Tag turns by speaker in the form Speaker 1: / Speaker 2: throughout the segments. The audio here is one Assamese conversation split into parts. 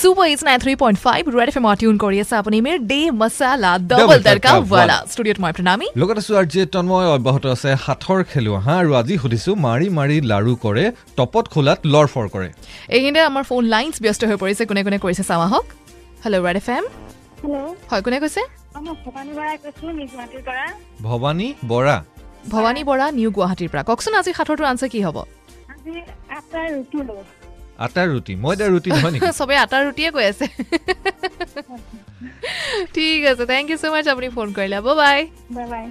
Speaker 1: super eight nine three point five red F M tune কৰি আছে আপুনি মোৰ ডে মছালা ডবল তৰকা ৱালা ষ্টুডিঅ'ত মই প্ৰণামী
Speaker 2: লগত আছো আৰ জে তন্ময় অব্যাহত আছে সাঁথৰ খেলুৱা হা আৰু আজি সুধিছো মাৰি মাৰি লাৰু কৰে টপত খোলাত লৰফৰ কৰে
Speaker 1: এইখিনিতে আমাৰ ফোন লাইনছ ব্যস্ত হৈ পৰিছে কোনে কোনে কৰিছে চাওঁ আহক hello' red F M
Speaker 3: hello'
Speaker 1: হয় কোনে কৈছে
Speaker 3: অঁ, মই ভৱানী বৰাই কৈছোঁ মিজমাটিৰ পৰা
Speaker 2: ভৱানী বৰা
Speaker 1: ভৱানী বৰা নিউ গুৱাহাটীৰ পৰা কওকচোন আজি সাঁথৰটোৰ আনচাৰ কি হ'ব
Speaker 3: আজি আটাৰ ৰুটি লওঁ
Speaker 2: আটাৰ ৰুটি মই এতিয়া ৰুটি নহয় নেকি
Speaker 1: চবেই আটাৰ ৰুটিয়ে কৈ আছে ঠিক আছে থেংক ইউ ছ' মাছ আপুনি ফোন কৰিলে bye bye
Speaker 3: bye bye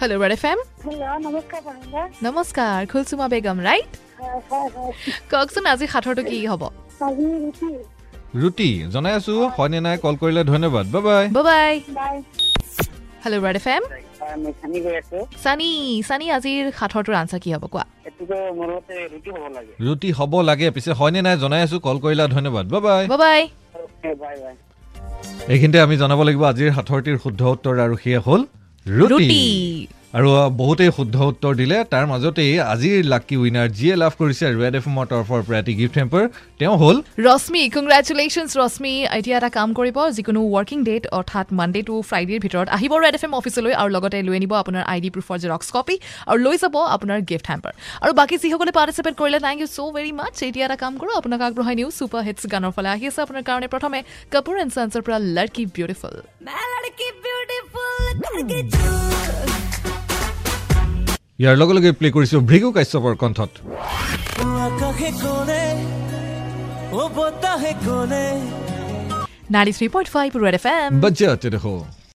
Speaker 1: hello' red F M
Speaker 3: hello' নমস্কাৰ পৰমিলা
Speaker 1: নমস্কাৰ খুলচুমা বেগম ৰাইট
Speaker 3: হয় হয় হয়
Speaker 1: কওকচোন আজি সাঁথৰটো কি হ'ব
Speaker 3: আজি ৰুটি
Speaker 2: ৰুটি জনাই আছো হয়নে নাই কল কৰিলে ধন্যবাদ bye bye
Speaker 1: bye bye
Speaker 3: bye
Speaker 1: hello' red F M
Speaker 4: হয়, মই খানি গৈ আছো
Speaker 1: চানি চানি আজিৰ সাঁথৰটোৰ আনচাৰ কি হ'ব কোৱা
Speaker 4: এইটোতো মোৰ মতে ৰুটি হ'ব লাগে
Speaker 2: ৰুটি হ'ব লাগে পিছে হয়নে নাই জনাই আছো কল কৰিলা ধন্যবাদ bye bye
Speaker 1: bye bye
Speaker 4: okay, bye bye
Speaker 2: এইখিনিতে আমি জনাব লাগিব আজিৰ সাঁথৰটিৰ শুদ্ধ উত্তৰ আৰু সেয়া হ'ল
Speaker 1: ৰুটি
Speaker 2: ৰুটি আৰু আহ, বহুতেই শুদ্ধ উত্তৰ দিলে তাৰ মাজতেই আজিৰ লাকি উইনাৰ যিয়ে লাভ কৰিছে ৰেড এফ এমৰ তৰফৰ পৰা এটি গিফ্ট হেম্পাৰ তেওঁ হ'ল
Speaker 1: ৰশ্মি কংগ্ৰেচুলেশ্যনছ ৰশ্মি এতিয়া এটা কাম কৰিব যিকোনো ৱৰ্কিং ডেট অৰ্থাৎ মানডে টু ফ্ৰাইডেৰ ভিতৰত আহিব ৰেড এফ এম অফিচলৈ আৰু লগতে লৈ আনিব আপোনাৰ আই ডি প্ৰুফৰ জেৰক্স কপি আৰু লৈ যাব আপোনাৰ গিফ্ট হেম্পাৰ আৰু বাকী যিসকলে পাৰ্টিচিপেট কৰিলে thank you so' very much এতিয়া এটা কাম কৰোঁ আপোনাক আগবঢ়াই নিওঁ ছুপাৰ হিটছ গানৰ ফালে আহি আছে আপোনাৰ কাৰণে প্ৰথমে কাপোৰ এণ্ড চান্সৰ পৰা লড়কি বিউটিফুল
Speaker 5: मैं लड़की ब्यूटीफुल करके जू
Speaker 2: ইয়াৰ লগে লগে প্লে কৰিছোঁ ভৃগু কাশ্যপৰ কণ্ঠত
Speaker 6: আকাশে কোনে ও বতাহে কোনে
Speaker 1: ninety three point five red F M
Speaker 2: বাজ্যাতে দেখো